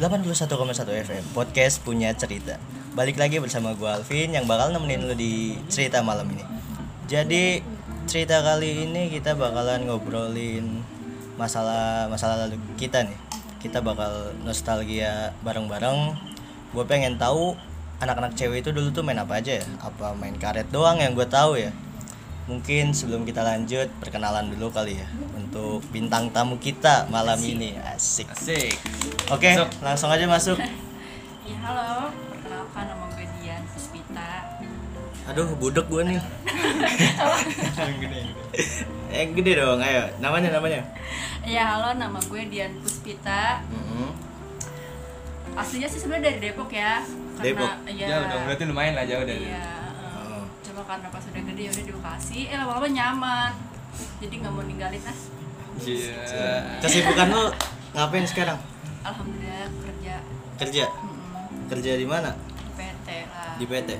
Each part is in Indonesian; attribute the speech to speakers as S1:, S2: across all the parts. S1: 81,1 FM Podcast punya cerita Balik lagi bersama gue Alvin Yang bakal nemenin lu di cerita malam ini Jadi cerita kali ini kita bakalan ngobrolin Masalah masalah lalu kita nih Kita bakal nostalgia bareng-bareng Gue pengen tahu anak-anak cewek itu dulu tuh main apa aja ya Apa main karet doang yang gue tahu ya Mungkin sebelum kita lanjut perkenalan dulu kali ya Untuk bintang tamu kita malam ini Asik
S2: Asik.
S1: Oke,
S2: Masuk.
S1: langsung aja masuk.
S3: Ya halo, perkenalkan nama gue Dian Susmita
S1: Aduh, budek gue nih. eh gede dong, ayo. Namanya namanya.
S3: Ya halo, nama gue Dian Puspita
S1: Mm-hmm.
S3: Aslinya sih sebenarnya dari Depok ya karena,
S1: Depok?
S3: Iya
S2: Jauh dong, berarti lumayan lah jauh dari.
S3: Iya
S1: Oh.
S3: eh, Cuma karena pas udah gede ya udah di Bekasi, eh lama-lama nyaman Jadi nggak mau ninggalin ah
S2: Iya.
S1: Kesibukan lo ngapain sekarang?
S3: Alhamdulillah kerja
S1: Kerja.
S3: Mm-mm.
S1: Kerja di mana?
S3: Di PT lah
S1: Di PT.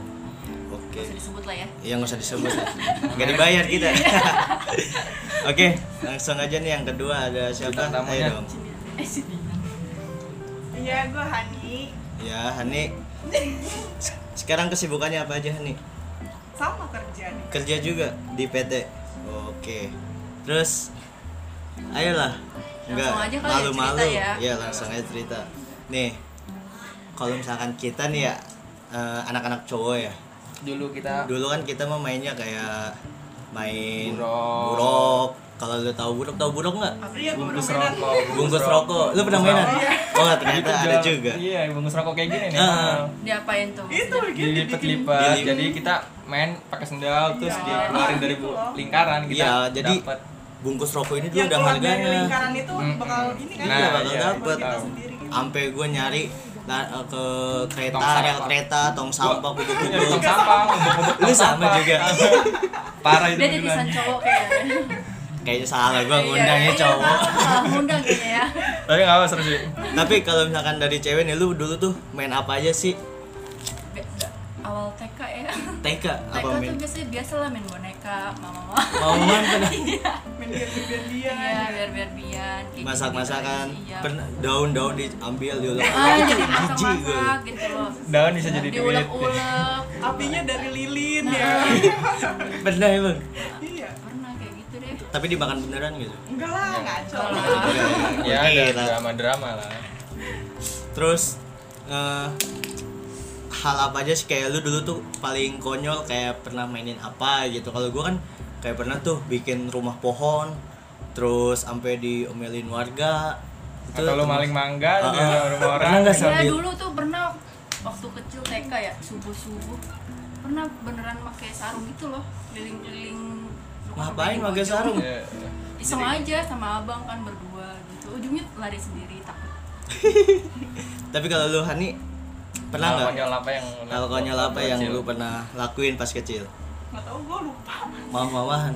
S1: Oke.
S3: Nggak usah disebut lah ya
S1: Yang nggak usah disebut. Gak dibayar kita. Oke, langsung aja nih yang kedua ada siapa?
S2: Bintang tamunya.
S1: Ayo dong.
S3: Sini. Eh sini
S4: Iya, gue Hani.
S1: Ya, Hani. Se- Sekarang kesibukannya apa aja, Hani?
S4: Sama kerja nih.
S1: kerja juga di PT. Oke. Terus ayolah. Enggak
S3: Langsung aja kali ya
S1: malu-malu.
S3: cerita ya.
S1: Iya, langsung aja cerita. Nih. Kalau misalkan kita nih ya eh, anak-anak cowok ya.
S2: Dulu kita
S1: Dulu kan kita mah mainnya kayak main
S2: Burok.
S1: burok. Kalau lu tahu burok, tahu burok nggak?
S4: Iya, gue
S2: bungkus
S4: berminat.
S2: rokok.
S1: Bungkus rokok. Lu pernah mainan?
S2: Iya.
S1: Oh, ternyata ada
S2: Jauh.
S1: juga.
S2: Iya, bungkus rokok kayak gini nih.
S1: Ah.
S2: mahal.
S3: Diapain tuh?
S4: Itu gitu.
S2: Dilipat-lipat.
S1: Dilip-
S2: Jadi kita main pakai sendal terus
S4: Iya.
S2: dikeluarin dari bu- lingkaran kita.
S1: Iya, jadi
S2: dapat.
S1: bungkus rokok ini
S4: Yang
S1: dulu udah
S4: keluar dari
S1: harganya.
S4: lingkaran itu
S2: Mm-mm.
S4: bakal ini kan.
S1: Iya,
S2: Hmm. Nah,
S1: bakal
S2: iya,
S1: dapet.
S4: Kita
S2: tahu.
S4: sendiri gitu.
S1: sampai gue nyari na- ke kereta
S2: Tong sampah.
S1: rel kereta tong sampah
S2: Iya,
S1: kubu-kubu
S2: tong sampah, ngumpet-ngumpet
S1: Lu
S2: tong
S1: sama
S2: sampah.
S1: juga.
S2: Parah itu.
S3: Dia titisan
S2: beneran.
S3: cowok kayaknya
S1: kayaknya salah gue
S3: Iya,
S1: ngundangnya
S3: iya,
S1: ya, cowok
S3: salah. Ngundang kayaknya ya
S2: Tapi enggak apa seru sih.
S1: tapi kalau misalkan dari cewek nih lu dulu tuh main apa aja sih
S3: Be- awal TK ya
S1: TK
S3: TK
S1: apa
S3: tuh
S1: main
S3: biasanya biasa lah main boneka mama mama
S1: mau main pernah
S4: Main biar-biar dia.
S3: iya biar biar bian
S1: masak masakan
S3: iya
S1: pernah daun-daun diambil dulu
S3: ah
S1: itu
S3: jadi masak
S1: jijik gue
S3: masak gitu loh
S2: Daun bisa jadi duit. Iya.
S3: diulek ulek
S4: Apinya dari lilin
S3: Nah.
S4: ya.
S1: pernah emang
S4: Iya.
S3: pernah kayak gitu deh
S1: tapi dimakan beneran gitu
S4: Enggak
S2: Iya.
S4: lah, ngaco.
S3: Kalau-
S2: Ya,
S1: Oke,
S2: ada
S1: lah.
S2: drama-drama lah.
S1: terus eh, hal apa aja sih kayak lu dulu tuh paling konyol kayak pernah mainin apa gitu kalau gua kan kayak pernah tuh bikin rumah pohon terus sampai diomelin warga Itu-
S2: Atau lu maling mangga
S1: Ah,
S2: di
S1: ah.
S2: rumah
S1: Pernah
S2: orang.
S1: nggak sih?
S3: ya
S1: Sambil-
S3: dulu tuh pernah waktu kecil TK ya subuh subuh pernah beneran pakai sarung itu loh keliling keliling
S1: ngapain pakai sarung
S2: Iya.
S3: iseng aja sama abang kan berdua gitu ujungnya lari sendiri takut
S1: tapi kalau lu Hani pernah
S2: Hal
S1: nggak
S2: konyol apa yang
S1: hal konyol apa yang
S2: kecil?
S1: lu pernah lakuin pas kecil
S4: Enggak tahu gue lupa.
S2: Iya.
S1: mau mawahan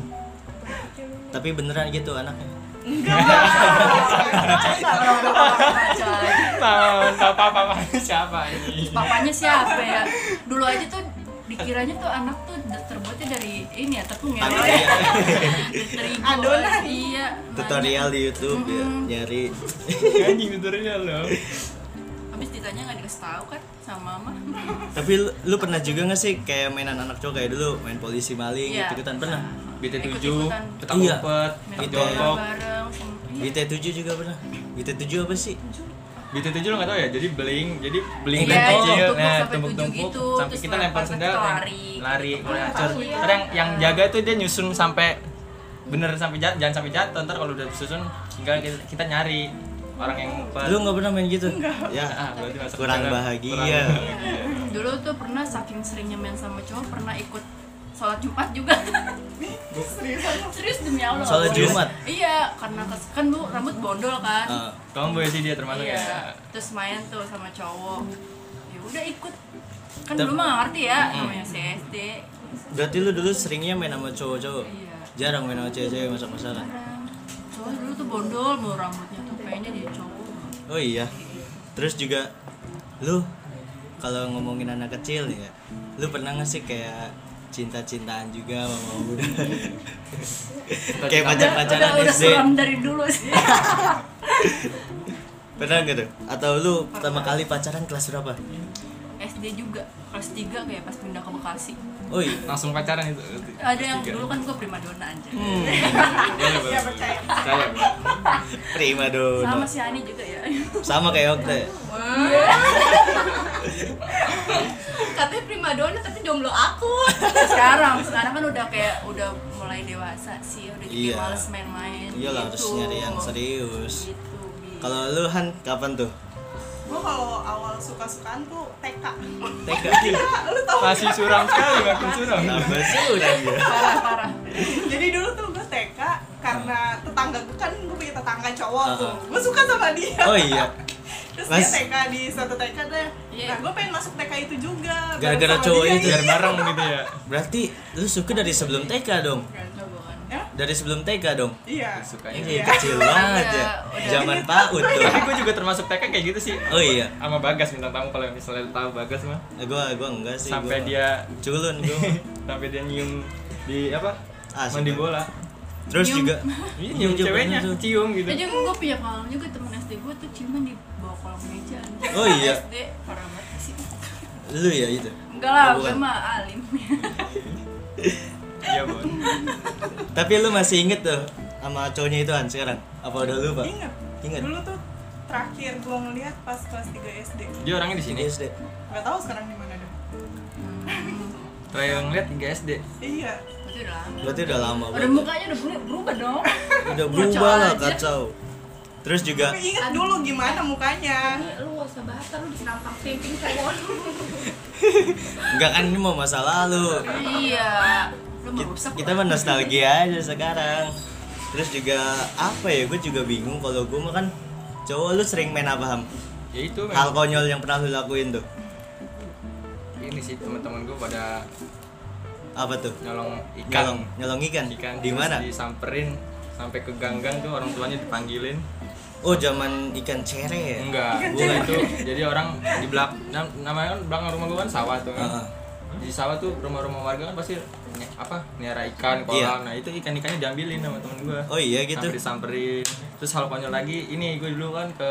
S1: tapi beneran gitu anaknya
S4: Enggak lah. Enggak lah.
S3: Pacar.
S2: Nah, apa apa siapa ini?
S3: Papanya siapa ya? Dulu aja tuh dikiranya tuh anak tuh de- terbuatnya dari ini ya tepung ya.
S1: Tanah dia.
S3: Dari terigu.
S4: Adonan.
S3: Iya. nanya.
S1: tutorial di YouTube ya
S3: Mm-hmm.
S1: nyari
S2: Anjing tutorial Kan lo.
S3: Habis ditanya nggak dikasih tahu kan sama mama.
S1: tapi lu, lu pernah juga nggak sih kayak mainan anak cowok kayak dulu main polisi maling gitu
S3: Iya.
S1: ikutan pernah
S2: BT7,
S3: Ikut-ikutan.
S2: petak
S1: Iya.
S2: umpet,
S3: Main
S1: Gitu.
S2: petak
S3: bola
S2: jongkok.
S3: bareng. sama- iya.
S1: BT7 juga pernah BT7 apa sih
S2: BT7 lo nggak tahu ya, jadi beling, jadi beling
S1: Iya,
S2: kan
S1: iya,
S2: kecil.
S3: tumpuk
S2: Nah,
S3: sampai tujuh
S2: tumpuk-tumpuk
S3: gitu,
S2: sampai
S3: terus
S2: kita lempar
S3: lempar,
S2: sendal
S3: terus
S2: yang-
S3: lari.
S2: lari, mulai
S4: Iya,
S2: acur.
S4: iya.
S2: Terus yang yang jaga tuh dia nyusun sampai bener sampai jat- jangan sampai jatuh ntar kalau udah disusun tinggal kita, kita nyari orang yang ngumpet
S1: lu nggak pernah main gitu ya
S2: Ah, berarti masuk
S1: kurang
S2: dalam-
S1: bahagia Iya.
S3: Dulu tuh pernah saking seringnya main sama cowok pernah ikut sholat Jumat juga.
S2: Iya,
S3: Serius demi Allah.
S1: Sholat
S3: Serius.
S1: Jumat?
S3: Iya, karena kes- kan lu rambut bondol kan.
S1: Ah,
S2: tomboy sih dia termasuk
S3: iya.
S2: ya
S3: terus main tuh sama cowok ya udah ikut kan
S1: Tapi-
S3: dulu mah nggak ngerti ya namanya CSD
S1: berarti lu dulu seringnya main sama cowok-cowok
S3: iya
S1: jarang main sama cewek-cewek masak masakan
S3: Orang- cowok dulu tuh bondol mau rambutnya tuh kayaknya dia cowok
S1: oh iya terus juga lu kalau ngomongin anak kecil ya lu pernah nggak sih kayak cinta-cintaan juga sama orang muda kayak
S2: Cinta-cintaan.
S1: pacar-pacaran
S3: udah, udah
S1: SD
S3: suram dari dulu sih
S1: Pernah gitu? Atau lu pertama kali pacaran kelas berapa?
S3: SD juga kelas 3 kayak pas pindah ke Bekasi
S1: Oi,
S2: langsung pacaran itu
S3: ada yang dulu kan gue primadona aja
S1: Hmm,
S2: Boleh, boleh.
S4: Iya, percaya.
S2: Percaya, boleh.
S1: prima dong.
S3: sama si Ani juga ya
S1: Sama kayak Okte.
S5: Katanya primadona tapi jomblo aku.
S3: sekarang sekarang kan udah kayak udah mulai dewasa sih udah
S1: Iya.
S3: jadi males main-main
S1: Iyalah harus
S3: gitu.
S1: nyari yang serius.
S3: gitu Bi.
S1: Kalau lu Han kapan tuh?
S4: Gue kalau awal suka-sukaan tuh TK.
S1: TK.
S4: Lu tau
S2: Masih suram sekali, makin suram.
S1: Tambah suram ya.
S3: parah parah
S4: Jadi dulu tuh gue TK karena tetangga gue kan gue punya tetangga cowok tuh.
S1: Ah.
S4: Gue suka sama dia.
S1: Oh iya,
S4: Terus
S1: Mas.
S4: dia TK di satu TK deh.
S3: Iya.
S4: Nah, gue pengen masuk TK itu juga. bareng
S1: Gara-gara
S4: sama
S1: cowok
S4: dia,
S1: itu.
S4: iya.
S2: Biar bareng gitu ya.
S1: berarti lu suka dari sebelum TK dong.
S4: kan.
S3: Enggak, bukan
S1: Dari sebelum TK dong.
S4: Iya.
S2: Sukanya. gitu.
S1: Ini
S4: Iya.
S1: kecil banget ya.
S3: Udah. Iya.
S1: Zaman PAUD tuh.
S2: Tapi gue juga termasuk TK kayak gitu sih.
S1: Oh iya,
S2: Sama Bagas bintang tamu kalau misalnya tahu Bagas mah
S1: gua gua enggak sih.
S2: sampai
S1: gua-
S2: dia
S1: culun gua.
S2: sampai dia nyium di apa?
S1: Ah,
S2: mandi
S1: sumpah.
S2: bola.
S1: Terus
S3: Nyium.
S1: juga
S2: Iya, nyium
S1: Nyium
S2: ceweknya,
S1: ceweknya tuh.
S2: cium gitu.
S3: Itu juga gue punya pengalaman juga temen SD gue tuh ciuman di bawah kolam meja anjir.
S1: Oh iya.
S3: SD parah banget sih
S1: lu ya itu.
S3: Enggak lah,
S1: Oh, bukan.
S3: gue mah alim
S2: Iya, Bon.
S1: Tapi lu masih inget tuh sama cowoknya itu Han sekarang? Apa udah lupa?
S2: Iya.
S4: Ingat.
S1: Ingat.
S4: Dulu tuh terakhir gue ngeliat pas kelas 3 SD.
S2: Dia orangnya di sini.
S1: Ini SD.
S4: Gak tau sekarang di mana deh.
S2: Terakhir ngeliat 3 SD.
S4: Iya.
S3: Itu udah lama
S1: Berarti udah lama
S3: Udah
S1: banget.
S3: mukanya udah berubah, berubah dong
S1: Udah
S3: Kacau
S1: berubah lah
S3: aja.
S1: kacau. Terus juga
S4: Tapi ingat dulu gimana mukanya.
S5: Ini lu gak usah bahas, ntar lu dinampang pimpin cowok lu.
S1: enggak kan ini mau masa lalu.
S3: Iya Lu merusak
S1: Kita mah nostalgia aja sekarang. Terus juga apa ya? Gue juga bingung kalau gue mah kan cowok lu sering main apa ham?
S2: Ya itu
S1: Hal
S2: memang.
S1: konyol yang pernah lu lakuin tuh
S2: Ini sih teman-teman gue pada
S1: apa tuh?
S2: nyolong
S1: Nyolong,
S2: ikan.
S1: nyolong ikan.
S2: Ikan
S1: Di
S2: terus
S1: mana?
S2: Disamperin sampai ke ganggang tuh orang tuanya dipanggilin.
S1: Oh, zaman ikan cere ya?
S2: Enggak, gue itu jadi orang di belak nam- namanya kan belakang rumah gue kan sawah tuh kan.
S1: Heeh.
S2: Di sawah tuh rumah-rumah warga kan pasti ny- apa niara ikan kolam.
S1: Iya.
S2: Nah, itu ikan-ikannya diambilin sama temen gue.
S1: Oh iya gitu.
S2: Sampai disamperin. Terus hal konyol lagi, ini gue dulu kan ke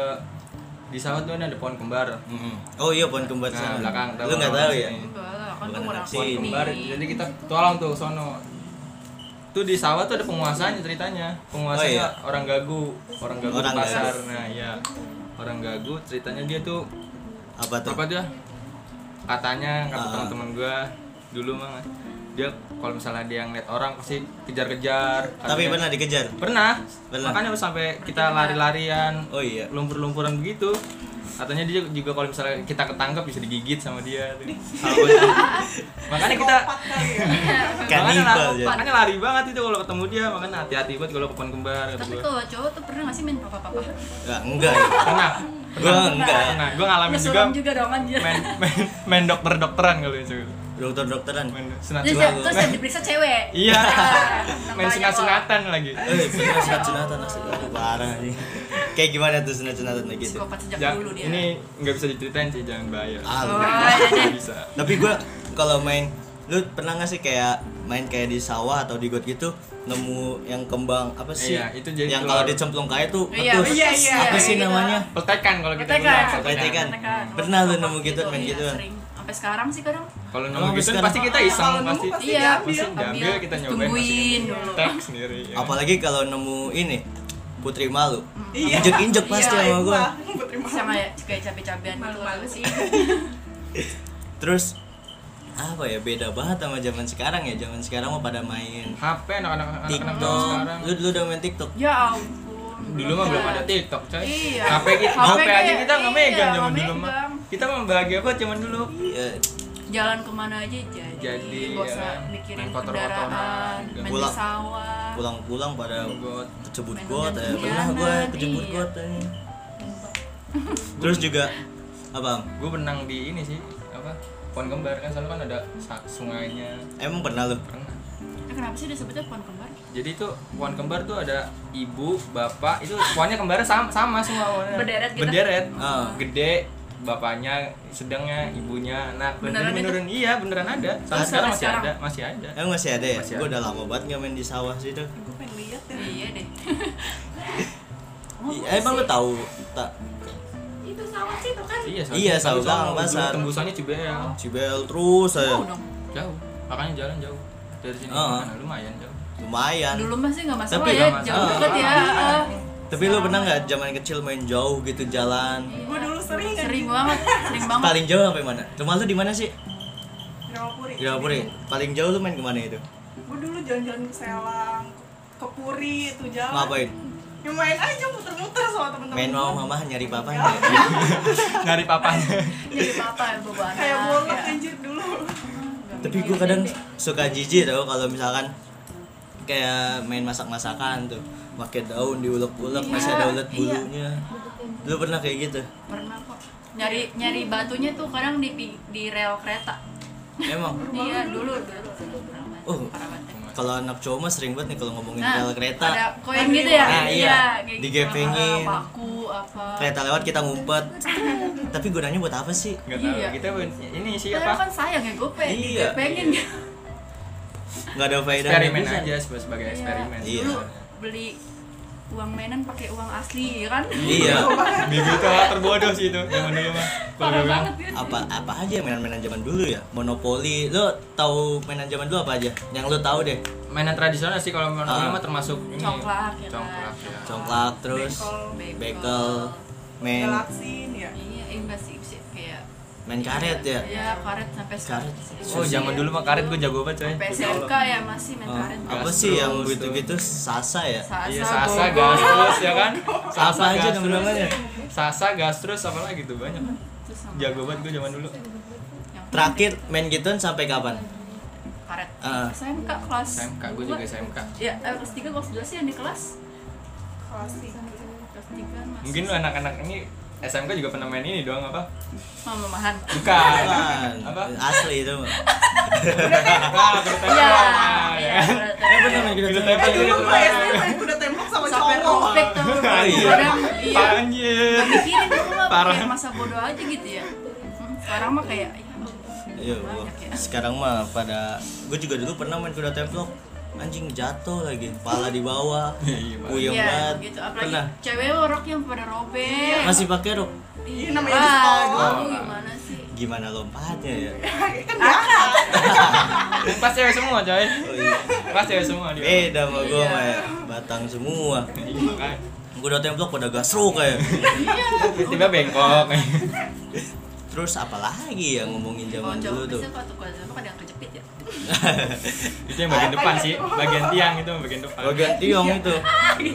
S2: di sawah tuh kan ada pohon kembar.
S1: Mm-mm. Oh iya pohon kembar
S2: Nah,
S1: sana.
S2: belakang, tahu
S1: Lu nggak
S2: orang
S1: tahu
S2: sini.
S1: ya?
S3: Enggak lah, kan
S1: Bukan
S3: gue
S1: anak
S3: orang
S1: sini.
S2: Pohon
S1: Ini.
S2: kembar. Jadi kita tolong tuh sono. Tuh di sawah tuh ada penguasanya ceritanya. Penguasanya
S1: Oh, iya.
S2: orang gagu, orang gagu
S1: Orang
S2: di pasar.
S1: gagu.
S2: Nah, iya. Orang gagu ceritanya dia tuh
S1: Apa tuh?
S2: apa dia katanya kata
S1: Ah.
S2: teman-teman gue dulu mah dia kalau misalnya dia ngeliat orang pasti kejar-kejar
S1: Tapi
S2: Katanya-
S1: pernah dikejar.
S2: pernah
S1: Pernah.
S2: makanya sampai kita lari-larian
S1: Oh iya.
S2: lumpur-lumpuran begitu katanya dia juga kalau misalnya kita ketangkep bisa digigit sama dia tuh. Kalau gua- makanya kita
S4: Kopat kali ya.
S2: makanya,
S1: Kanibal
S2: la-
S1: ya.
S2: makanya lari banget itu kalau ketemu dia makanya hati-hati banget kalau ke pohon kembar kata
S3: Tapi
S2: gua.
S3: kalau cowok tuh pernah gak sih main papa-papa?
S1: Nah, enggak ya.
S2: pernah
S1: Gua enggak.
S2: pernah gue ngalamin juga
S3: Ngesuram juga dong kan anjir
S2: main main, main dokter-dokteran kalau itu
S1: Dokter-dokteran.
S2: main sunat
S3: Terus,
S1: Jual.
S3: terus yang diperiksa cewek
S2: Iya.
S3: Nah,
S2: Main
S3: banyak
S2: sunat-sunatan lagi.
S1: Eh, bener sunat-sunatan asli. Aduh, parah nih. Kayak gimana tuh sunat-sunatan kayak gitu?
S3: Psikopat sejak
S2: Ja-
S3: dulu dia
S2: Ya, ini nggak bisa diceritain sih, jangan bayar.
S1: Ah,
S3: Oh,
S1: lu.
S3: iya deh.
S2: Nggak bisa.
S1: Tapi gua kalau main lu pernah gak sih kayak main kayak di sawah atau di got gitu nemu yang kembang apa sih?
S2: Iya, itu jadi
S1: yang
S2: keluar.
S1: kalau dicemplung kayak tuh
S3: Iya,
S1: letus.
S4: iya, iya.
S1: Apa
S4: Iya,
S1: sih
S3: gitu.
S1: namanya?
S2: Peltekan kalau kita
S3: Petekan.
S2: bilang,
S1: Petekan.
S4: Hmm.
S1: Pernah lu nemu gitu, main
S3: iya,
S1: gituan?
S3: sering. Sampai sekarang sih kadang
S2: Kalau
S1: Emang
S2: nemu gitu
S1: sekarang-
S2: pasti kita iseng
S4: Kalau nemu
S2: pasti.
S4: pasti
S3: Iya.
S4: diambil.
S2: Pasti diambil kita
S3: Terus
S2: nyobain. pasti
S3: tungguin
S2: kita
S3: dulu.
S2: Tek sendiri. ya.
S1: Apalagi kalau nemu ini Putri Malu.
S4: Iya.
S1: Injek-injek pasti
S4: Iya,
S1: sama gua.
S4: gua terima
S3: sama ya kayak cabe-cabean gitu
S5: Malu-malu sih.
S1: Terus apa ya beda banget sama zaman sekarang ya. Zaman sekarang mah pada main
S2: HP anak-anak anak-anak zaman
S1: TikTok.
S2: sekarang.
S1: Lu dulu udah main TikTok.
S3: Ya ampun.
S2: Dulu mah belum ada TikTok, coy.
S3: Iya.
S2: HP kita
S3: HP
S2: HP aja kita
S3: iya,
S2: nggak megang
S3: nggak
S2: zaman dulu mah.
S3: megang.
S2: Kita mah bahagia banget zaman dulu. Oh,
S1: Iya,
S3: Jalan kemana aja jadi.
S2: Jadi,
S3: Gak usah
S2: ya,
S3: mikirin
S2: main kotor-kotoran,
S3: kendaraan, main di
S1: pulang-
S3: sawah.
S1: pulang-pulang pada
S2: Buat
S1: kecebut
S3: Main
S1: got ya
S3: undang-undangan,
S1: pernah gue kejebut
S3: iya.
S1: got ya. terus juga apa Am?
S2: gue benang di ini sih apa pohon kembar kan selalu kan ada sa- sungainya
S1: emang pernah lo
S2: pernah
S3: Eh, kenapa sih disebutnya pohon kembar?
S4: Iya.
S2: jadi itu pohon kembar tuh ada ibu bapak itu pohonnya kembarnya sama, sama semua pohonnya.
S3: Berderet gitu?
S2: berderet
S1: Ah.
S2: gede bapaknya sedangnya ibunya anak beneran
S3: Beneran itu?
S2: menurun iya beneran ada sampai
S1: Ada.
S2: sekarang masih
S3: Sekarang.
S2: ada masih ada
S1: emang masih ada ya
S2: Masih
S1: gue
S2: ada.
S1: udah lama banget nggak main di sawah sih tuh
S4: Gue pengen lihat deh.
S3: Iya deh.
S1: Ih, emang lo tahu tak
S2: Iya,
S1: Iya, selalu
S2: tapi soalnya
S1: belakang pasar.
S2: Tembusannya Cibel.
S1: Cibel terus eh, saya
S2: Eh.
S3: Mau dong.
S2: Jauh. Makanya jalan jauh. Dari sini ke
S1: Heeh.
S2: mana? lumayan jauh.
S1: lumayan.
S3: Dulu masih nggak masalah
S1: Tapi
S3: ya,
S2: nggak
S3: jauh
S1: masalah.
S3: deket ya. ah.
S1: Tapi lu pernah nggak zaman kecil main jauh gitu jalan?
S4: Gue dulu sering kan
S3: Sering banget, sering banget.
S1: Paling jauh sampai mana? Rumah lu di mana sih?
S4: Gramapuri.
S1: Di Puri. Paling jauh lu main kemana itu?
S4: Gue dulu jalan-jalan ke Selang, ke Puri itu jalan.
S1: Ngapain?
S4: Ya main aja muter-muter sama temen-temen.
S1: Main mau
S4: gua.
S1: mama nyari papa
S4: Ya.
S1: ya?
S2: Nyari papanya.
S3: Jadi papa yang bawa anak.
S4: Kayak
S3: ya.
S4: bolak anjir dulu.
S1: Tapi gue kadang
S3: Iya,
S1: suka jijik tau kalau misalkan kayak main masak-masakan tuh pakai daun
S3: Iya,
S1: diulek-ulek masih ada ulet bulunya. Lu pernah kayak gitu?
S3: Pernah kok. Nyari nyari batunya tuh kadang di pi- di rel kereta.
S1: Emang
S3: Iya, dulu dulu. Parah banget,
S1: Oh.
S3: parah banget.
S1: kalau anak cowok mah sering banget nih kalau ngomongin
S3: Nah,
S1: rel kereta.
S3: Ada koin gitu ya?
S1: Nah, iya.
S3: kayak
S1: Digepengin.
S3: Gitu. Ah, Paku apa?
S1: Kereta lewat kita ngumpet. Tapi gunanya buat apa sih?
S2: Enggak tahu.
S3: Iya.
S2: Kita ini sih
S3: Padahal
S2: apa?
S3: kan sayang ya gope,
S1: Iya.
S3: digepengin
S1: Nggak ada faedahnya.
S2: Eksperimen
S1: bisa.
S2: aja sebagai sebagai
S3: Iya.
S2: eksperimen.
S1: Iya.
S3: Dulu beli uang mainan pakai uang asli ya kan?
S1: Iya.
S2: Bibi itu hal terbodoh sih itu zaman dulu mah. Kalau
S3: Parah
S2: gue bilang,
S3: banget ya.
S1: apa apa aja mainan-mainan zaman dulu ya monopoli lo tahu mainan zaman dulu apa aja yang lo tahu deh
S2: mainan tradisional sih kalau menurut gue
S1: Ah.
S2: mah termasuk ini.
S3: Congklak ya kan?
S2: Congklak ya.
S1: congklak terus
S4: Bekel.
S1: bekel main
S4: Galaksin ya.
S3: Iya, eh, enggak sih, sih, kayak
S1: main karet ya
S3: ya karet sampai sekarang.
S1: Karet.
S2: Oh, zaman dulu mah karet gue jago banget coy.
S3: Sampai SMK ya masih main
S1: Eh,
S3: karet.
S1: apa
S2: Gas
S1: sih yang
S2: terus
S1: gitu-gitu sasa ya
S3: Sasa,
S2: Iya, sasa
S3: Gogo.
S2: gas terus ya kan?
S1: apa aja
S2: gas terus.
S1: namanya
S2: Sasa gas terus apa lagi tuh banyak.
S3: Terus sama
S2: Jago banget gue zaman dulu.
S3: yang
S1: terakhir main gituan sampai kapan
S3: karet.
S1: Eh.
S3: SMK kelas.
S2: SMK, gue
S3: dua.
S2: juga SMK.
S3: Ya, eh, kelas 3 kelas 11 sih yang di kelas.
S4: Kelas tiga.
S3: Kelas 3 masih.
S2: Mungkin lu anak-anak ini SMK juga pernah main ini doang apa?
S3: Mama mahan.
S2: Bukan.
S1: Kapan?
S2: Apa?
S1: asli itu mah
S2: Ah, bertepuk
S3: Iya.
S2: tangan,
S3: Iya,
S2: ya.
S3: bener.
S2: Gitu tepuk,
S4: Eh dulu
S2: gitu
S4: gue
S2: tepuk.
S4: SD main kuda tembak sama
S3: Sampai
S4: cowok.
S3: robek tuh.
S1: Oh, iya.
S3: Kadang, Iya.
S2: Anjir.
S3: Mikirin itu mah
S2: Parah.
S3: kayak masa bodoh aja gitu ya. Hmm, Sekarang mah kayak ya
S1: Iya, Bu. sekarang mah pada gue juga dulu pernah main kuda templok anjing jatuh lagi kepala di bawah
S2: Iya, Pak.
S1: puyeng
S3: Iya,
S1: banget
S3: gitu. Apalagi
S1: pernah
S3: cewek roknya pada robek.
S1: masih Oh, pakai rok
S4: Iya, namanya di
S3: Wah,
S4: sekolah.
S3: aduh, gimana sih?
S1: gimana lompatnya ya
S4: Kan jahat.
S2: Pas cewek semua coy.
S1: Oh iya.
S2: Pas cewek semua
S3: Iya.
S2: dia.
S1: Beda sama gua mah ya. Batang semua.
S2: Iya, makanya.
S1: Gua udah templok pada gasruk kayak.
S2: Tiba-tiba bengkok.
S1: Terus apa lagi ya ngomongin
S3: Kalau
S1: zaman
S3: cowok
S1: dulu tuh?
S3: biasanya kalau tukang jambak ada yang kejepit ya.
S2: itu yang bagian depan sih, bagian tiang itu bagian depan.
S1: Bagian tiong itu.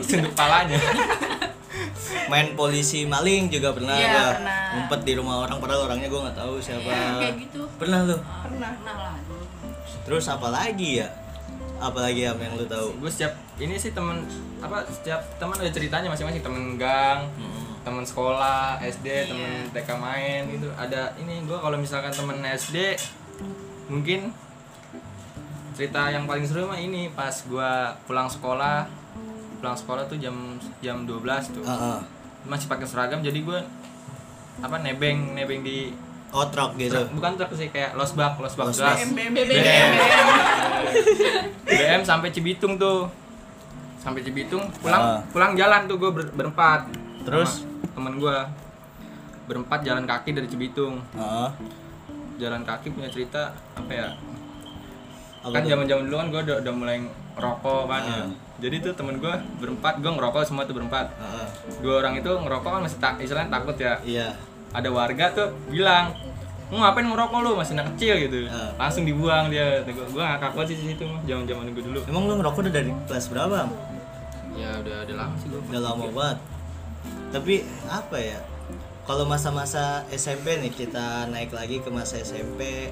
S2: Sunduk palanya.
S1: Main polisi maling juga pernah
S3: Iya,
S1: gua.
S3: pernah.
S1: Ngumpet di rumah orang padahal orangnya gua nggak tahu siapa.
S3: Iya, kayak gitu.
S1: Pernah lu.
S3: Ah,
S4: Pernah.
S3: Pernah lah dulu.
S1: Terus apa lagi ya? Apalagi yang yang lu tahu?
S2: Gue setiap ini sih temen apa setiap teman ada ceritanya masing-masing temen gang,
S1: Hmm.
S2: temen sekolah, SD, temen TK main gitu. Ada ini gue kalau misalkan temen SD mungkin cerita yang paling seru mah ini pas gue pulang sekolah pulang sekolah tuh jam jam 12 tuh
S1: Heeh.
S2: masih pakai seragam jadi gue apa nebeng nebeng di
S1: Otrok gitu.
S2: bukan truk sih kayak losbak losbak
S1: Los
S2: gas
S1: bak.
S4: BM.
S2: BM BM sampai Cibitung tuh sampai Cibitung
S1: Ah.
S2: pulang pulang jalan tuh gue berempat
S1: Terus?
S2: Sama temen gue berempat jalan kaki dari Cibitung
S1: Heeh.
S2: jalan kaki punya cerita apa ya
S1: Apa
S2: kan
S1: tuh?
S2: zaman zaman dulu kan gue udah, udah mulai ngerokok kan ya.
S1: Ah.
S2: jadi tuh temen gue berempat gue ngerokok semua tuh berempat
S1: Heeh.
S2: dua orang itu ngerokok kan masih tak istilahnya takut ya
S1: Iya.
S2: ada warga tuh bilang "Lu ngapain ngerokok lu masih anak kecil gitu
S1: Ah.
S2: langsung dibuang dia gue gue ngakak banget sih di situ mah zaman zaman gue dulu kan.
S1: Emang lu ngerokok udah dari kelas berapa? Bang?
S2: ya udah udah lama sih gue
S1: udah lama banget tapi apa ya kalau masa-masa SMP nih kita naik lagi ke masa SMP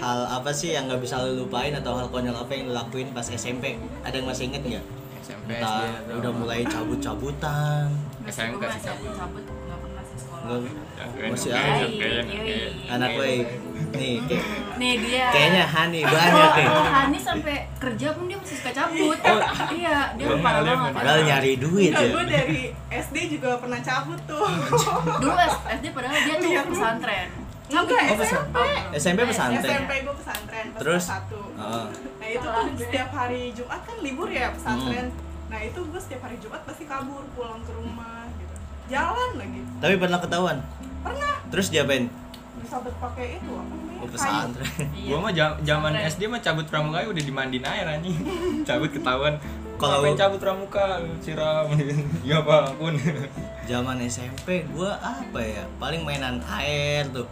S1: hal apa sih yang nggak bisa lu lupain atau hal konyol apa yang lu lakuin pas SMP ada yang masih inget nggak
S2: SMP SD
S1: Entah
S2: atau-
S1: udah mulai cabut-cabutan
S2: SMK
S3: Gua
S2: sih cabut.
S3: cabut, nggak pernah sih sekolah.
S1: Nggak-
S2: Ya, keren,
S1: masih
S2: keren,
S1: ada
S2: keren, keren.
S1: anak
S2: iya,
S1: baik nih kayak,
S3: Nih dia.
S1: kayaknya Hani banyak nih
S3: Kalau Hani sampai kerja pun dia masih suka cabut.
S1: Oh.
S3: iya, dia
S2: Belum
S3: parah
S2: kali yang
S3: banget.
S1: padahal nyari duit
S4: Enggak,
S1: ya
S4: gue dari SD juga pernah cabut tuh.
S3: Dulu SD padahal dia tuh pesantren.
S4: Enggak,
S1: Oh, pesan-
S4: SMP. Eh,
S1: SMP pesantren ya?
S4: SMP gue pesantren pas
S1: Terus? Ah.
S4: kelas satu.
S1: Heeh.
S4: Nah itu tuh setiap hari Jumat kan libur ya pesantren.
S1: Hmm.
S4: Nah itu gue setiap hari Jumat pasti kabur pulang ke rumah gitu. Jalan lagi.
S1: tapi pernah ketahuan
S4: Pernah
S1: Terus diapain?
S4: disabet pakai itu apa namanya?
S1: Mau Oh, pesantren.
S3: Iya.
S2: Gua mah ja- zaman
S3: Keren.
S2: SD mah cabut pramuka udah dimandiin air anjing. cabut ketahuan.
S1: Kalau-
S2: Kalau cabut pramuka siram. ya Pak, ampun.
S1: Zaman SMP gua apa ya? Paling mainan air tuh.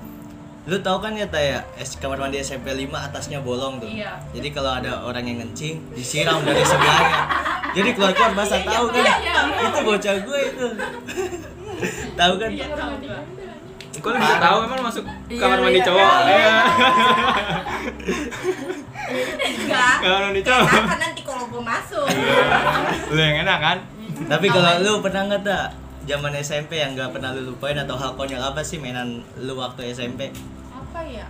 S1: Lu tahu kan ya Taya, es kamar mandi SMP 5 atasnya bolong tuh.
S3: Iya.
S1: Jadi kalau ada orang yang ngencing, disiram dari sebelahnya. Jadi keluar-keluar basah tahu kan? Itu bocah gue itu. tahu kan?
S3: Iya, tahu gua.
S2: Kok lu bisa tahu emang masuk
S3: Iya,
S2: kamar mandi
S3: iya,
S2: cowok?
S3: iya.
S2: Iya.
S5: Enggak.
S2: Kamar mandi cowok.
S5: Kan nanti kalau gue masuk.
S1: Iya.
S2: Lu yang enak kan?
S1: Tapi kalau lu pernah nggak tak zaman SMP yang nggak pernah lu lupain atau hal konyol apa sih mainan lu waktu SMP?
S5: Apa ya?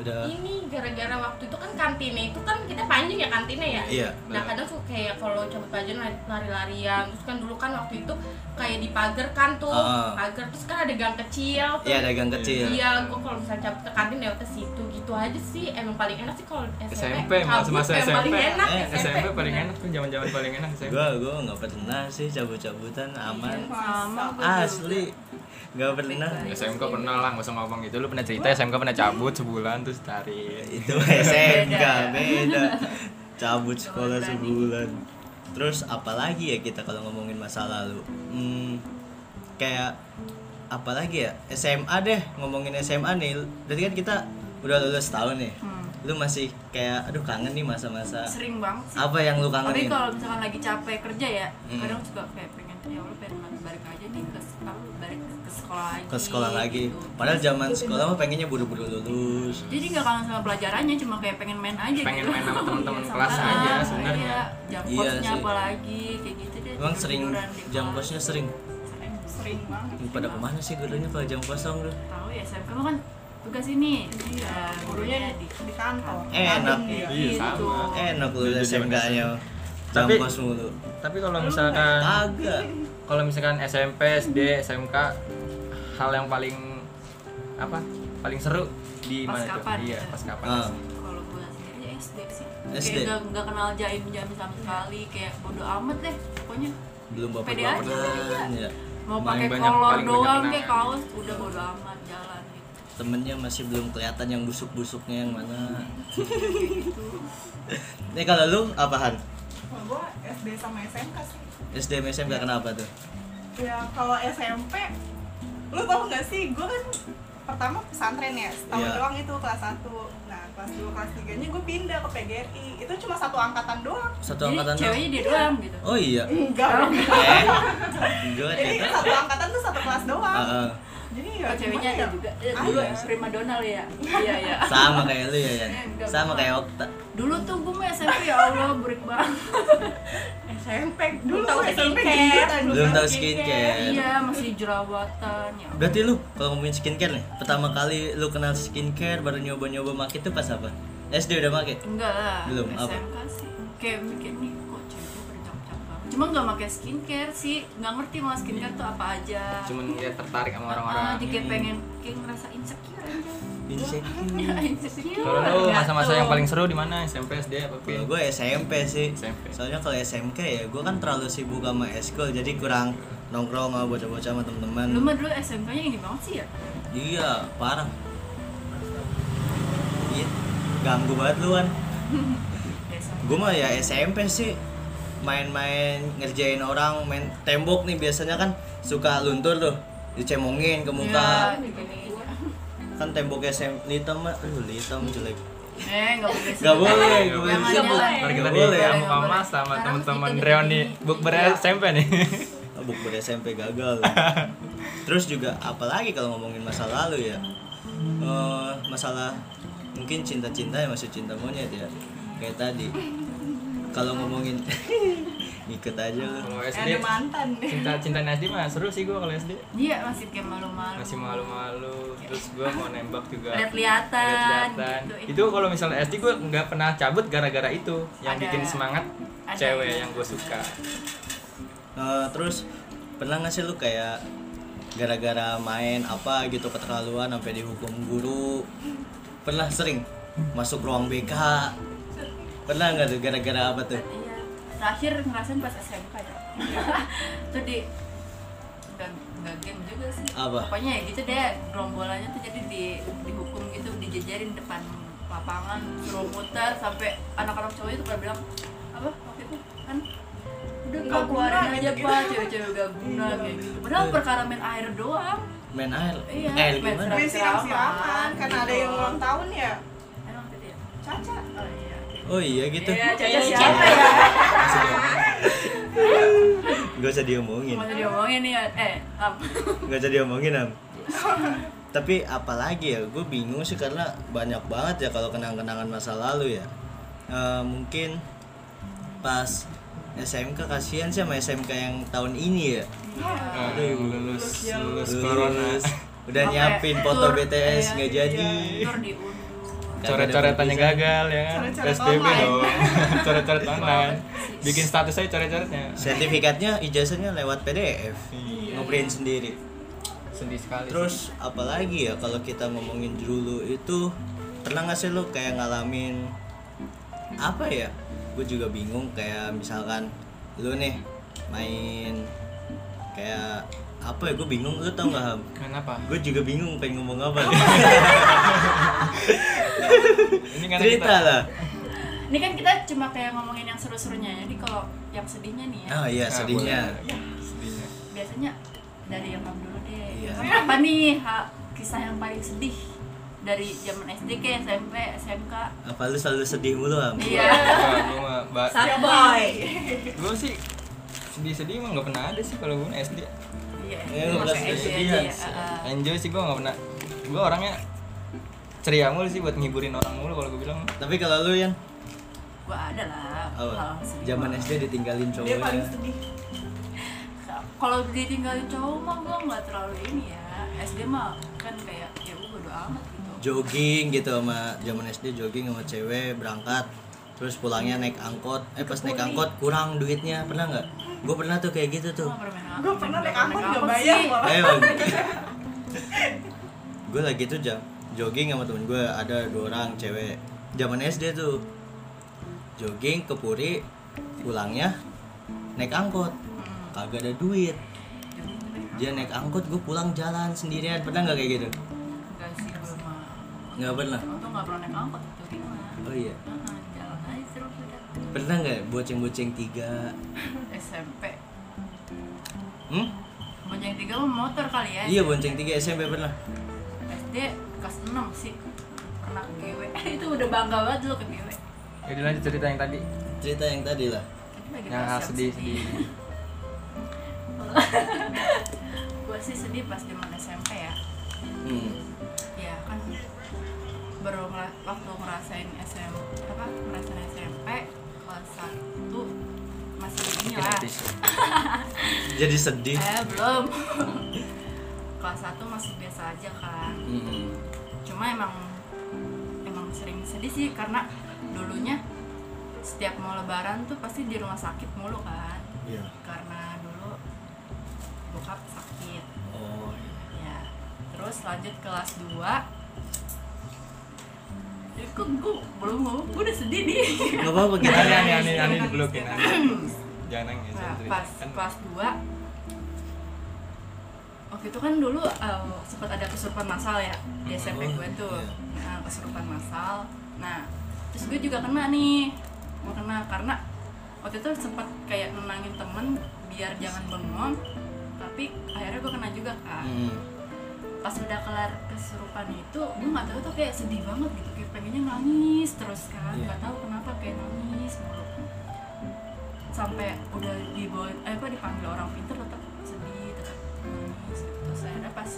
S1: Udah.
S5: Ini gara-gara waktu itu kan kantinnya itu kan kita panjang ya kantinnya ya.
S1: Iya,
S5: Nah
S1: benar.
S5: kadang suka kayak kalau cabut pelajaran lari- lari-larian terus kan dulu kan waktu itu kayak di pagar kan tuh
S1: Ah.
S5: pagar terus kan ada gang kecil. tuh.
S1: Iya ada gang kecil.
S5: Iya, gue kalau misalnya cabut ke kantin lewat ke situ gitu aja sih. Emang paling enak sih kalau SMP.
S2: SMP, masa-masa
S5: Cabut yang
S2: SMP.
S5: paling enak
S1: Eh,
S2: SMP paling
S5: bener.
S2: enak tuh zaman-zaman paling enak SMP.
S1: Gua gua nggak pernah sih cabut-cabutan
S4: Iya,
S1: aman.
S4: Sama.
S1: Asli nggak pernah.
S2: SMK pernah lah, gak usah ngomong gitu Lu pernah cerita SMK pernah cabut sebulan terus tarik
S1: Itu SMK beda. Cabut sekolah sebulan. Terus apalagi ya kita kalau ngomongin masa lalu? Hmm, kayak apalagi ya SMA deh ngomongin SMA nih. Berarti kan kita udah lulus tahun nih. Lu masih kayak aduh kangen nih masa-masa.
S3: Hmm, Sering banget sih.
S1: Apa yang lu
S3: Tapi
S1: kangenin?
S3: kalau misalkan lagi capek kerja ya,
S1: Hmm.
S3: kadang suka kayak pengen ya Allah pengen balik aja nih ke apa, balik ke sekolah lagi.
S1: Ke sekolah lagi.
S3: gitu.
S1: Padahal zaman sekolah mah pengennya buru-buru lulus.
S3: Jadi nggak kangen sama pelajarannya, cuma kayak pengen main aja
S2: Pengen
S3: gitu.
S2: main sama temen-temen
S3: Iya,
S2: kelas
S3: sama-
S2: aja
S3: ah,
S2: sebenarnya.
S3: Iya, jam
S1: Iya
S3: kosnya
S1: sih.
S3: apalagi kayak gitu deh.
S1: Emang sering
S3: tidur-tiduran di
S1: jam
S3: kelas.
S1: kosnya sering.
S3: Sering.
S4: Sering banget.
S1: Pada kemana sih gurunya kalau jam kosong lu?
S3: Tahu ya, SMK mah kan tugas ini. Iya,
S4: Gurunya
S3: gurunya
S4: di,
S3: di gitu.
S4: di kantor.
S1: Enak.
S4: Kadang dia.
S2: Iya, sama.
S1: Enak lu
S2: Dulu zaman
S1: SMK-nya. Jam
S2: Tapi-
S1: kos mulu.
S2: Tapi kalau misalkan
S1: Kagak.
S2: kalau misalkan SMP, SD, SMK hal yang paling apa? Paling seru di
S3: Pas
S2: mana tuh?
S3: kapan?
S2: Iya, pas kapan?
S1: Ah.
S3: kalau gue sendiri ya SD sih
S1: SD.
S3: kayak nggak nggak kenal jaim jaim sama sekali kayak bodo amat deh pokoknya
S1: belum bapak
S3: Pede aja,
S1: baperan ya
S3: mau
S2: Paling
S3: pakai
S2: banyak-
S3: kolor
S2: paling banyak
S3: doang
S2: kenangan.
S3: kayak kaos udah bodo amat jalan gitu
S1: temennya masih belum kelihatan yang busuk busuknya yang mana nih kalau lu apaan
S4: Kalau gua SD sama SMK sih.
S1: SDM SMK kenapa tuh
S4: Ya kalau SMP, lu tau gak sih, gue kan pertama pesantren ya, setahun
S1: Iya.
S4: doang itu kelas 1 Nah kelas 2, kelas 3 nya gue pindah ke PGRI, itu cuma satu angkatan doang
S1: satu
S3: jadi
S1: angkatan
S3: ceweknya dia doang gitu
S1: oh iya
S4: Enggak,
S1: eh gue
S4: jadi
S1: ternyata
S4: satu angkatan tuh satu kelas doang
S1: Ah, ah.
S4: Jadi ya
S3: Oh, ceweknya
S4: gimana
S3: ada
S4: ya?
S3: juga Eh, dulu
S1: Ada.
S3: prima donna lu ya iya iya
S1: sama kayak lu ya Yan
S3: Eh, Enggak,
S1: sama
S3: bukan.
S1: kayak Okta
S3: dulu tuh gue mah SMP ya Allah break banget
S4: SMP, dulu
S5: Belum tahu
S4: SMP
S5: skincare.
S4: gitu kan.
S1: belum tahu skincare
S3: iya masih jerawatan ya
S1: berarti lu kalau ngomongin skincare nih pertama kali lu kenal skincare baru nyoba nyoba make itu pas apa SD udah make
S3: enggak lah
S1: Belum, apa?
S3: SMK sih kayak mikir nih kok ceweknya bercak-cak banget cuma nggak pakai skincare sih nggak ngerti mau skincare tuh apa aja
S2: Cuman ya tertarik sama
S3: Ah,
S2: orang-orang.
S3: jadi kayak pengen kayak ngerasa insecure aja
S1: insecure
S3: Ya, insecure
S2: Kalau lu
S3: Nggak
S2: masa-masa
S3: tuh.
S2: yang paling seru di mana? SMP, SD, apa
S1: Kalau
S2: Pin?
S1: gue SMP sih.
S2: SMP.
S1: Soalnya kalau SMK ya gue kan terlalu sibuk sama eskul jadi kurang nongkrong sama bocah-bocah sama
S3: lu
S1: teman-teman.
S3: mah dulu SMK-nya ini banget sih ya
S1: Iya, parah. Iya, ganggu banget lu kan.
S3: SMP.
S1: Gue mah ya SMP sih main-main ngerjain orang main tembok nih biasanya kan suka luntur tuh dicemongin ke
S3: Ya,
S1: muka
S3: gini-gini.
S1: kan tembok SMP litam mah aduh litam jelek
S3: eh nggak boleh
S1: Gak boleh,
S2: Nggak
S1: gak
S2: boleh.
S1: boleh
S3: Jangan,
S1: disebut.
S3: jangan.
S2: Mari kita
S1: Nggak
S2: di
S1: boleh. ya.
S2: kamu
S3: Nggak boleh.
S2: sama
S5: Sekarang
S2: teman-teman
S5: kita
S2: Reoni
S5: begini.
S2: buk ber
S3: Iya.
S2: SMP nih.
S1: Abuk ber SMP gagal. Terus juga apalagi kalau ngomongin masa lalu ya. Eh, masalah mungkin cinta-cinta ya masih cinta monyet ya. Kayak tadi. Kalau ngomongin ikut aja lu.
S2: Kalau SD
S4: Ada mantan deh
S2: cinta cinta SD mah seru sih gua kalau SD.
S3: iya masih kayak malu-malu
S2: Masih malu-malu, terus gua mau nembak juga.
S3: lihat-lihatan
S2: Lihat-lihatan.
S3: gitu.
S2: Itu kalau misalnya SD gue nggak pernah cabut gara-gara itu yang
S3: Ada-
S2: bikin semangat
S3: ada
S2: cewek
S3: itu.
S2: yang gue suka.
S1: Eh, terus pernah nggak sih lu kayak gara-gara main apa gitu keterlaluan sampai dihukum guru? Pernah sering masuk ruang BK? Pernah nggak tuh gara-gara apa tuh?
S3: Iya. Terakhir ngerasain pas SMK ya. Itu di dan nggak geng juga sih
S1: Apa?
S3: pokoknya ya gitu deh gerombolannya tuh jadi di dihukum gitu dijejerin depan lapangan suruh muter sampai anak-anak cowok itu pada bilang apa waktu itu kan udah
S4: Nggak
S3: pak keluarin
S4: guna,
S3: aja
S4: gitu-gitu."
S3: pak cewek-cewek gak guna kayak gitu padahal
S1: Iya.
S3: perkara main air doang
S1: main air
S3: Iya,
S1: air
S3: main
S1: gimana
S4: Main siram-siraman karena ada yang ulang tahun ya.
S3: emang gitu ya
S4: Caca.
S3: oh iya
S1: oh iya gitu
S3: Iya, Caca
S5: Iya,
S3: siapa ya?
S1: gak usah diomongin
S3: Mau diomongin nih ya? Eh, Am.
S1: nggak jadi omongin am tapi apalagi ya gue bingung sih karena banyak banget ya kalau kenang-kenangan masa lalu ya Eh, mungkin pas SMK kasihan sih sama SMK yang tahun ini ya
S4: Iya.
S2: Aduh, lulus,
S4: Lulus,
S2: lulus
S1: Lulus,
S2: corona.
S1: udah
S3: Sampai
S1: nyiapin foto
S3: tur,
S1: BTS
S3: iya,
S1: nggak
S4: iya.
S1: jadi
S3: Nur diundur.
S1: Kagak ada
S2: Coret-coretannya
S1: perpisahan.
S2: gagal ya kan?
S4: Coret-coret
S2: PSBB
S4: online.
S2: dong. Coret-coret online. Bikin status aja coret-coretnya.
S1: sertifikatnya ijazahnya lewat PDF
S2: Iya.
S1: ngeprint sendiri
S2: Sedih sekali.
S1: Terus apalagi ya kalau kita ngomongin dulu itu pernah nggak sih lo kayak ngalamin apa ya? Gue juga bingung kayak misalkan lu nih main kayak apa ya? Gue bingung lu tau nggak?
S2: kenapa?
S1: Gue juga bingung pengen ngomong apa. nih.
S2: Ini karena
S1: Cerita
S2: kita-
S1: lah.
S3: Ini kan kita cuma kayak ngomongin yang seru-serunya. Jadi kalau yang sedihnya nih ya,
S1: Oh iya
S2: Ah,
S1: sedihnya.
S2: boleh. Sedihnya.
S3: biasanya dari yang Am dulu deh.
S1: Iya.
S3: Kamu Apa nih ha, kisah yang paling sedih dari zaman SD ke SMP, SMK?
S1: Apa lu selalu sedih mulu am?
S3: Iya.
S2: Wah, gua mah, Mbak.
S5: Sad boy.
S2: Gue sih sedih-sedih emang nggak pernah ada sih kalau gue SD.
S3: Iya.
S1: Iya,
S3: Masuk
S1: udah
S3: SD
S1: sedih-sedihan
S3: aja ya,
S1: sih.
S3: ah, ah.
S2: Enjoy sih gue nggak pernah. Gue orangnya ceria mulu sih buat nghiburin orang mulu kalau gue bilang
S1: Tapi kalau lu yang
S3: Gua ada lah.
S1: apa?
S3: hal-hal sedih.
S1: Zaman SD ditinggalin
S4: Dia paling
S1: cowoknya.
S4: sedih.
S3: Kalau ditinggalin cowok mah gua nggak terlalu ini ya. SD mah kan kayak ya gua bodo amat gitu.
S1: jogging gitu sama zaman SD jogging sama cewek berangkat terus pulangnya naik angkot eh pas naik angkot kurang duitnya pernah nggak gue pernah tuh kayak gitu tuh Eh,
S3: Gua nggak pernah main
S4: Gue pernah naik angkot nggak
S3: angkot
S4: bayar
S3: sih.
S4: malah.
S1: emang gue lagi tuh jam jogging sama temen gue ada dua orang cewek zaman SD tuh jogging ke Puri pulangnya naik angkot kagak ada duit dia naik angkot gue pulang jalan sendirian pernah nggak kayak gitu
S3: Enggak sih belum mah.
S1: nggak pernah
S3: Untung nggak pernah naik angkot itu gimana?
S1: oh iya
S3: Heeh, Jalan aja seru udah.
S1: pernah nggak ya boceng-boceng tiga
S3: SMP.
S1: hmm?
S3: Bonceng tiga mah motor kali ya.
S1: Iya bonceng tiga SMP pernah.
S3: SD kelas 6 sih. Pernah ke GW. Eh, itu udah bangga banget dulu ke GW.
S2: Jadi lanjut cerita yang tadi
S1: Cerita yang tadi lah.
S3: Tadi lagi
S2: Yang hal
S3: persiap
S2: sedih-sedih
S3: Gua sih sedih pas zaman SMP ya.
S1: Hmm.
S3: ya kan baru ngera- waktu ngerasain SM apa ngerasain SMP kelas satu masih ini
S2: Mungkin
S3: lah
S2: nanti sih.
S1: Jadi sedih.
S3: eh belum kelas satu masih biasa aja kan
S1: Hmm.
S3: cuma emang emang sering sedih sih karena dulunya setiap mau lebaran tuh pasti di rumah sakit mulu kan
S1: Iya.
S3: karena dulu bokap sakit
S1: Oh.
S3: ya terus lanjut kelas 2 Ya, kok gue belum ngomong, gue udah sedih nih
S1: Gak apa-apa
S2: Ini
S1: kita.
S3: Iya.
S2: aneh aneh aneh aneh dibelokin aneh. Jangan nangis.
S3: Nah,
S2: jangan cerita.
S3: pas
S2: Kan
S3: kelas 2 Waktu itu kan dulu eh, sempat ada kesurupan massal ya Di SMP gue tuh nah, Kesurupan massal Nah, terus gue juga kena nih Gue kena karena Waktu itu sempat kayak nenangin temen Biar jangan bengong Tapi akhirnya gue kena juga kan
S1: Hmm.
S3: pas udah kelar kesurupan itu gue nggak tahu tuh kayak sedih banget gitu kayak pengennya nangis terus kan
S1: Iya.
S3: nggak tahu kenapa kayak nangis mulu sampai udah dibawa eh apa dipanggil orang pintar tetap sedih tetap nangis gitu. terus akhirnya pas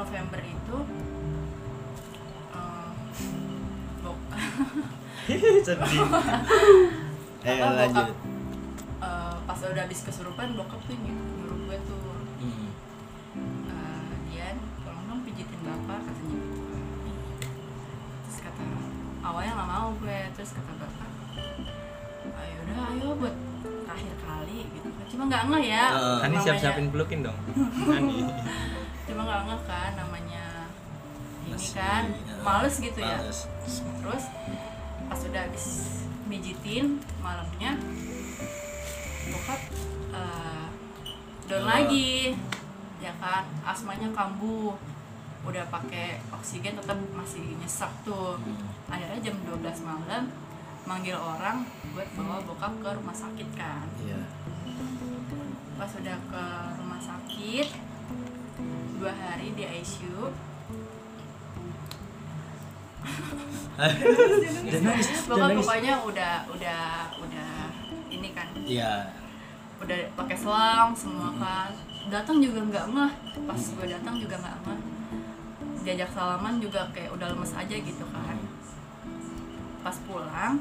S3: November itu em, bok
S1: sedih. Eh
S3: Apa, bokap?
S1: lanjut.
S3: eh, pas udah habis kesurupan bokap tuh nyuruh nyuruh gue tuh
S1: Hmm.
S3: Eh, Dian tolong dong pijitin bapak katanya gitu terus kata awalnya nggak mau gue terus kata bapak ayo udah ayo buat terakhir kali gitu cuma nggak ngeh ya
S1: Eh.
S2: Ani
S3: namanya-
S2: siap siapin pelukin dong. Ani.
S3: cuma nggak ngeh kan namanya ini
S1: Masih,
S3: kan
S1: eh,
S3: males gitu ya
S1: males.
S3: terus pas udah habis mijitin malamnya bokap eh, down lagi ya kan asmanya kambuh udah pakai oksigen tetap masih nyesek tuh akhirnya jam 12 malam manggil orang buat bawa bokap ke rumah sakit kan
S1: Iya.
S3: pas udah ke rumah sakit dua hari di ICU
S1: Dan nangis, dan
S3: bokap
S1: nangis.
S3: pokoknya udah udah udah ini kan
S1: Iya.
S3: udah pakai selang semua kan datang juga nggak ngeh pas gue datang juga nggak ngeh diajak salaman juga kayak udah lemes aja gitu kan pas pulang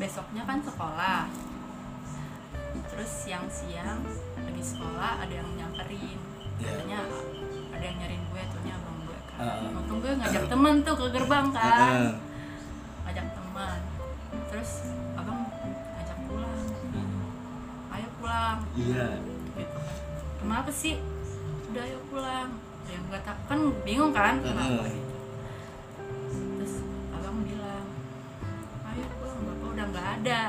S3: besoknya kan sekolah terus siang-siang lagi sekolah ada yang nyamperin
S1: Iya.
S3: katanya ada yang nyariin gue tuh nih abang gue kan
S1: Heeh.
S3: untung gue ngajak temen tuh ke gerbang kan
S1: Heeh.
S3: ngajak teman terus abang ngajak pulang ayo pulang
S1: Iya.
S3: gitu kenapa sih udah ayo pulang ya nggak tak kan bingung kan kenapa
S1: Heeh.
S3: gitu terus abang bilang ayo pulang bapak udah nggak ada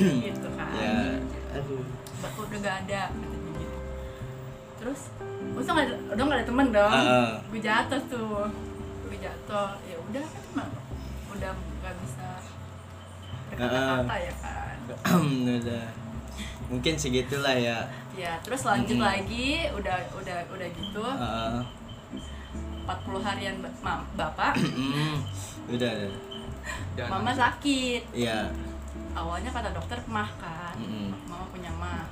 S3: gitu kan
S1: Ya. Aduh.
S3: bapak udah nggak ada katanya gitu terus terus nggak ada- udah nggak ada temen dong
S1: Heeh.
S3: gue jatuh tuh gue jatuh ya udah kan emang udah nggak bisa berkata-kata ya kan
S1: udah. Mungkin segitulah ya.
S3: ya terus lanjut
S1: Mm-mm.
S3: lagi udah udah udah gitu
S1: Heeh.
S3: 40 harian ba- ma- bapak
S1: Mm. udah, udah.
S2: Dan
S3: mama sakit
S1: Iya.
S3: awalnya kata dokter mah kan
S1: Mm-mm.
S3: mama punya mah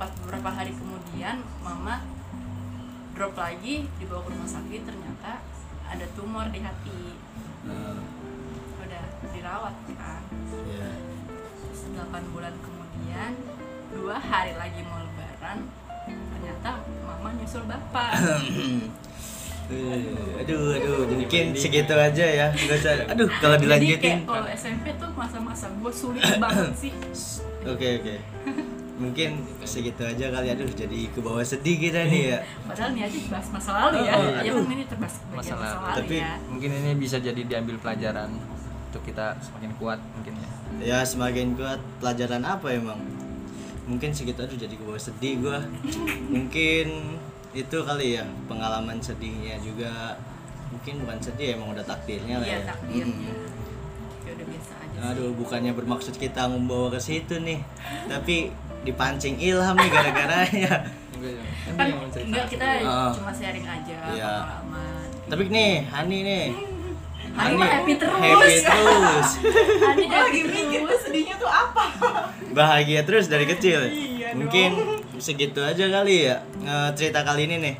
S3: pas beberapa hari kemudian mama drop lagi dibawa ke rumah sakit ternyata ada tumor di hati
S1: Heeh.
S3: udah dirawat kan
S1: Iya.
S3: Terus 8 bulan kemudian dua hari lagi mau lebaran ternyata mama nyusul bapak
S1: Eh, Aduh, aduh, mungkin segitu aja ya. Nggak usah. Aduh, kalau
S3: jadi
S1: dilanjutin.
S3: kayak kalau SMP tuh masa-masa gue sulit banget sih
S1: Oke, oke. Mungkin segitu aja kali. Aduh, jadi ke bawah sedih kita nih ya.
S3: Padahal niatnya bahas masa lalu ya.
S1: Oh,
S3: Iya
S1: aduh.
S3: kan ini terbahas bagian
S2: Masa
S3: masa,
S2: lalu.
S3: lalu
S1: Tapi-
S3: ya.
S2: mungkin ini bisa jadi diambil pelajaran untuk kita semakin kuat mungkin ya.
S1: Ya, semakin kuat pelajaran apa emang? Mungkin segitu aduh jadi ke bawah sedih gua. Mungkin itu kali ya pengalaman sedihnya juga. Mungkin bukan sedih emang udah takdirnya lah
S3: Iya
S1: ya.
S3: takdirnya.
S1: Mm.
S3: Ya udah biasa aja. sih.
S1: Aduh, bukannya bermaksud kita membawa ke situ nih, tapi dipancing ilham nih ya. gara-garanya.
S3: Kan enggak kita
S1: Ah.
S3: cuma sharing aja
S1: Iya.
S3: pengalaman.
S1: Tapi nih, Hani nih.
S3: Hani mah happy terus.
S1: Happy terus.
S3: Tadi
S4: Gue lagi mikir tuh sedihnya tuh apa
S1: Bahagia terus dari kecil.
S4: Iya dong.
S1: Mungkin segitu aja kali ya eh, cerita kali ini nih.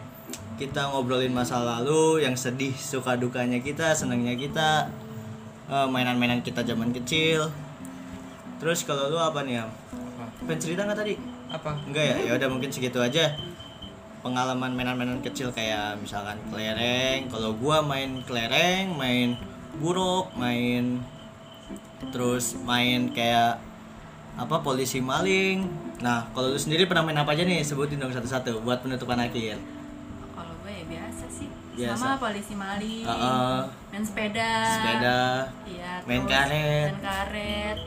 S1: Kita ngobrolin masa lalu yang sedih, suka dukanya kita, senangnya kita, eh, mainan-mainan kita zaman kecil. Terus kalau lu apa nih, Am? Pengen cerita nggak tadi?
S2: Apa?
S1: Enggak ya, ya udah mungkin segitu aja. Pengalaman mainan-mainan kecil kayak misalkan kelereng. Kalau gua main kelereng, main buruk, main terus main kayak apa polisi maling. Nah, kalau lu sendiri pernah main apa aja nih? Sebutin dong satu-satu buat penutupan akhir.
S3: Kalau gue ya biasa sih.
S1: Biasa.
S3: Sama polisi maling.
S1: Heeh.
S3: Main sepeda.
S1: Eh, sepeda,
S3: Iya.
S1: Main
S3: terus
S1: karet.
S3: Main karet.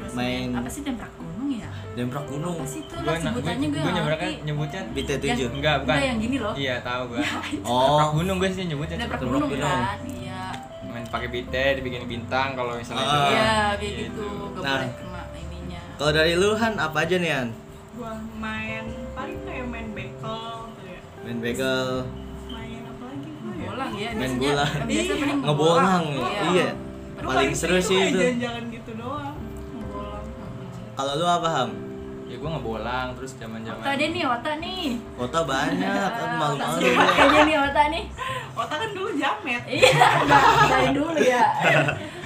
S3: Terus
S1: Main-
S3: main, apa sih tembak gunung ya?
S1: demprok gunung,
S3: Apa sih itu
S2: Gua
S3: lah
S2: na-
S3: sebutannya gue
S2: gua
S3: nggak
S2: nyebutnya
S3: ngerti.
S2: nyebutnya
S1: BT7.
S2: enggak bukan.
S3: yang gitu. gini loh.
S2: Iya, tahu gua. Rak
S1: Oh,
S2: gunung gue sih nyebutnya
S3: Ada
S2: cepet.
S3: gunung
S1: gunung.
S3: kan? Iya.
S2: main pakai bite dibikin bintang kalau misalnya
S1: Ah.
S2: itu.
S3: Iya, kayak gitu. Gak
S1: Nah.
S3: boleh kena ininya.
S1: kalau dari lu Han apa aja nih Han?
S4: Gue main paling kayak main bekel gitu ya
S1: Main bekel,
S4: Main apa lagi gue ya
S3: Bolang ya,
S1: Main
S3: biasanya.
S1: bola.
S3: Biasanya paling
S1: ngebolang.
S3: Iya.
S1: Iya.
S4: Lu
S1: Paling seru
S4: sering tuh
S1: sih
S4: kayak
S1: itu.
S4: jalan-jalan gitu doang
S3: Ngebolang.
S1: Kalau lu apa Ham?
S2: Ya gua ngebolang terus zaman-zaman.
S3: Otak dia nih, otak nih.
S1: Kota
S4: Iya,
S1: banyak, kan
S3: Otak
S1: malu-malu.
S3: sih, Kayaknya nih otak nih.
S4: Otak kan dulu jamet
S3: Iya, enggak dari dulu ya.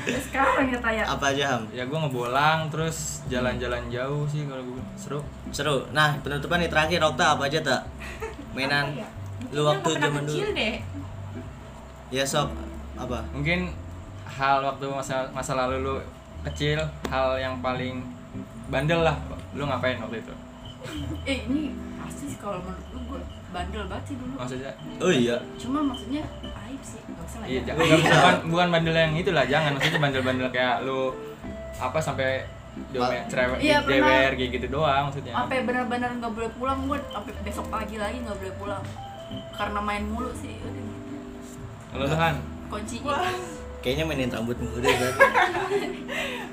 S3: Sekarang ya tanya.
S1: Apa aja Ham?
S2: Ya gua ngebolang terus jalan-jalan jauh sih kalau gua seru.
S1: Seru. Nah, penutupan nih terakhir Okta apa aja tak? Mainan
S4: ya?
S1: lu waktu zaman dulu.
S4: deh
S1: Ya sob, apa?
S2: Mungkin hal waktu masa masa lalu lu kecil hal yang paling bandel lah lu ngapain waktu itu
S3: Eh, ini pasti sih kalau menurut gue, gue bandel banget sih dulu.
S2: maksudnya
S1: Oh iya.
S3: Cuma maksudnya aib sih, enggak usah lah
S2: iya
S3: ya.
S2: jangan bukan bukan bandel yang itulah jangan maksudnya bandel-bandel kayak lu apa sampai diomet cerewet
S3: Iya, pernah.
S2: jewer kayak gitu doang maksudnya
S3: sampai benar-benar nggak boleh pulang gue sampai besok pagi lagi nggak boleh pulang karena main mulu sih udah gitu.
S2: kalau lu kan
S3: kuncinya
S1: Kayaknya mainin rambut mulu deh kan.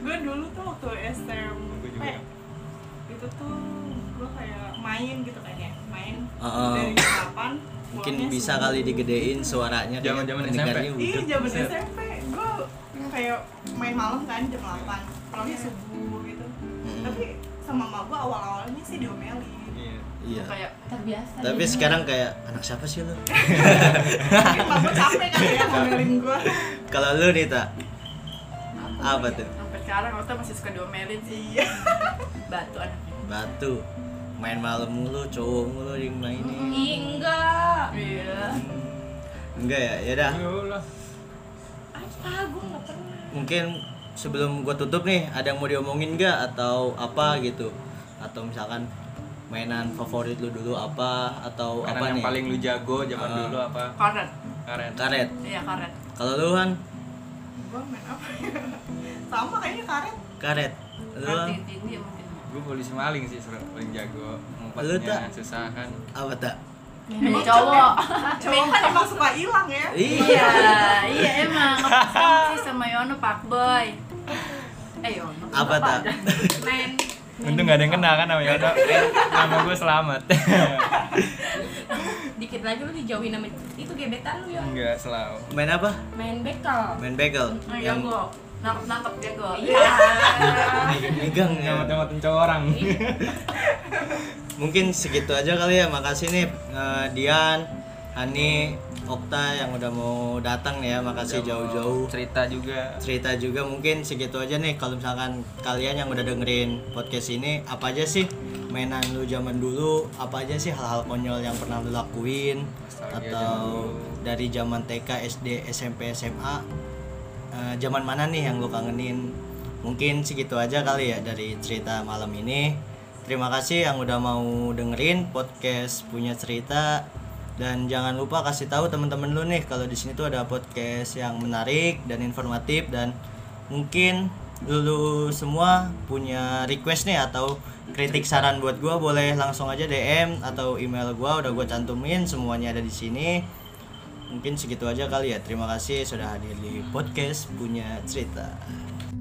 S4: gue dulu tuh waktu
S2: Gua
S4: SMP
S3: ya?
S2: juga.
S4: itu tuh gue kayak main gitu kayaknya main
S1: Heeh.
S4: dari kapan
S1: Mungkin bisa kali digedein gitu. suaranya kayak
S2: Zaman-zaman
S1: pendengarnya
S2: SMP.
S4: iya
S1: udah.
S4: zaman
S2: Buset.
S4: SMP gue kayak main malam kan jam 8 pulangnya subuh gitu
S1: Iya. Mm-mm.
S4: tapi sama mama gue awal-awalnya sih diomelin
S2: iya
S1: Iya.
S3: kayak
S5: terbiasa
S1: Tapi
S5: jadi.
S1: sekarang kayak anak siapa sih lu?
S4: mungkin mama gue capek kali ya ngomelin gue
S1: Kalau lu nih tak apa tuh?
S3: sampai sekarang waktu masih suka diomelin sih
S4: iya
S3: batu anaknya
S1: Batu. Main malam mulu, cowok mulu yang mainin.
S5: Ih, enggak
S3: iya
S1: Enggak ya, ya dah.
S2: Ayo lah
S4: apa gue nggak pernah
S1: mungkin sebelum gue tutup nih ada yang mau diomongin nggak atau apa gitu atau misalkan mainan favorit lu dulu apa atau
S2: Makanan
S1: apa
S2: yang
S1: nih
S2: paling lu jago zaman
S1: Ah.
S2: dulu apa
S3: karet
S2: karet
S1: karet
S3: iya karet
S1: kalau lu kan
S4: gue main apa ya sama kayaknya karet
S1: karet lu
S3: karet
S1: Han,
S3: tinggi tinggi ya mungkin
S2: gue polisi maling sih seru- paling
S1: Lu
S2: jago
S1: tak?
S2: ngumpetnya susah kan
S1: apa tak
S5: Jadi cowok
S4: cowok kan emang suka hilang ya
S1: iya
S3: iya iya emang sama sih sama Yono Pak Boy eh Yono
S1: apa tak
S3: main
S2: untung gak ada yang kena kan namanya Yoda nama gue selamat
S5: dikit lagi lu dijauhin sama itu gebetan lu ya
S2: enggak selalu
S1: main apa
S5: main bekel
S1: main bagel
S3: yang gue nangkep nangkep jago
S5: iya
S1: megang ya
S2: nggak mau cowok orang
S1: mungkin segitu aja kali ya makasih nih eh, Dian Hani Okta yang udah mau datang nih ya makasih jauh-jauh
S2: cerita juga
S1: cerita juga mungkin segitu aja nih kalau misalkan kalian yang udah dengerin podcast ini apa aja sih mainan lu zaman dulu apa aja sih hal-hal konyol yang pernah lu lakuin
S2: Nostalgia zaman
S1: atau
S2: dulu.
S1: dari zaman TK SD SMP SMA eh, zaman mana nih yang lu kangenin mungkin segitu aja kali ya dari cerita malam ini terima kasih yang udah mau dengerin podcast punya cerita dan jangan lupa kasih tahu teman-teman lu nih kalau di sini tuh ada podcast yang menarik dan informatif dan mungkin dulu semua punya request nih atau kritik saran buat gua boleh langsung aja DM atau email gua udah gua cantumin semuanya ada di sini mungkin segitu aja kali ya terima kasih sudah hadir di podcast punya cerita